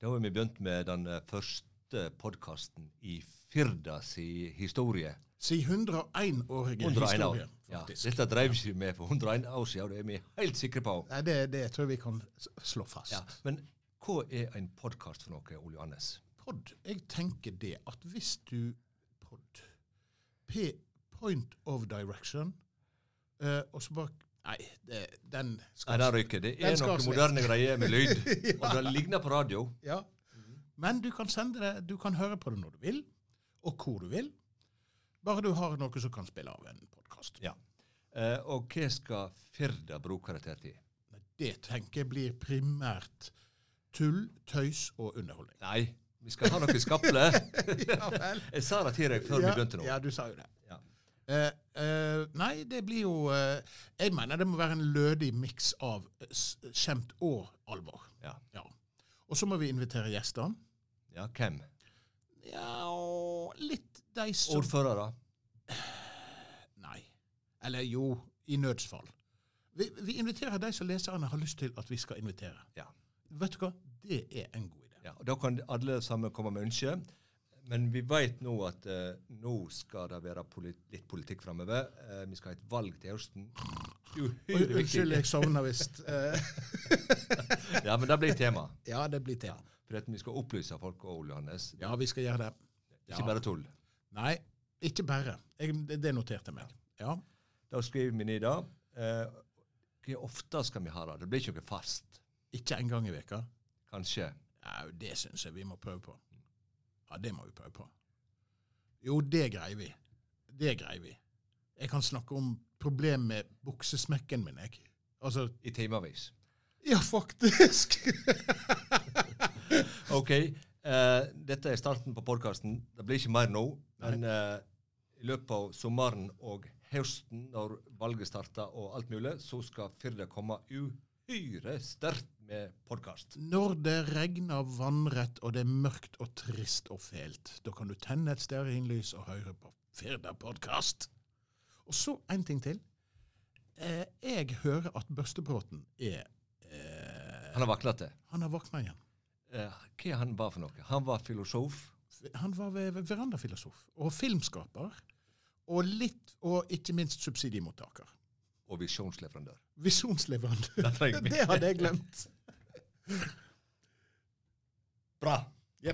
Da har vi begynt med den eh, første podkasten i Firda si historie. Si 101-årige 101 år. historie, Ja, faktisk. dette drev vi med for 101 år siden, og det er vi helt sikre på. Nei, det, det tror jeg vi kan s- slå fast. Ja, men hva er en podkast for noe, Ole Johannes? Pod, jeg tenker det at hvis du Pod P, Point of direction, eh, og så bare Nei, det, den Nei, skal der røyker det. Det Den er skal noe slett. moderne greier med lyd. Og det ligner på radio. Ja. Men du kan sende det, du kan høre på det når du vil, og hvor du vil. Bare du har noe som kan spille av en podkast. Ja. Eh, og hva skal Firda bruke dette til? Det tenker jeg blir primært tull, tøys og underholdning. Nei, vi skal ha noe skaple. Ja vel. Jeg sa det til deg før vi begynte nå. Ja, du sa jo det. Ja. Eh, eh, nei, det blir jo eh, Jeg mener det må være en lødig miks av eh, s- skjemt og alvor. Ja. Ja. Og så må vi invitere gjester. ja, hvem? Ja, og litt de som Ordførere? Nei. Eller jo, i nødsfall. Vi, vi inviterer de som leserne har lyst til at vi skal invitere. Ja. Vet du hva? Det er en god idé. Ja, og Da kan alle sammen komme med ønsker. Men vi vet nå at eh, nå skal det være polit litt politikk framover. Eh, vi skal ha et valg til høsten. Oi, Uhyre Unnskyld, viktig. jeg sovna visst. Eh, Ja, men det blir tema. ja, det blir tema. For at vi skal opplyse folk og Ole Johannes. Ja, vi skal gjøre det. Ikke Ja. bare tull. Nei, ikke bare. Jeg, det, det noterte jeg meg. Ja. Da skriver vi ned det. Eh, hvor ofte skal vi ha det? Det blir ikke noe fast. Ikke en gang i veka. Kanskje. Au, det syns jeg vi må prøve på. Ja, det må vi prøve på. Jo, det greier vi. Det greier vi. Jeg kan snakke om problemet med buksesmekken min, jeg. Altså I timevis. Ja, faktisk! OK. eh, dette er starten på podkasten. Det blir ikke mer nå. Men eh, i løpet av sommeren og høsten, når valget starter og alt mulig, så skal Firda komme uhyre sterkt med podkast. Når det regner vannrett, og det er mørkt og trist og fælt, da kan du tenne et stearinlys og høre på Firda podkast. Og så en ting til. Eh, jeg hører at Børstebråten er eh, Han har vaklet det. Han har våkna igjen. Eh, hva han var for noe? Han var filosof. Han var ve- ve- verandafilosof og filmskaper. Og litt, og ikke minst subsidiemottaker. Og visjonsleverandør. Visjonsleverandør. Det trenger vi. Det hadde jeg glemt. Bra.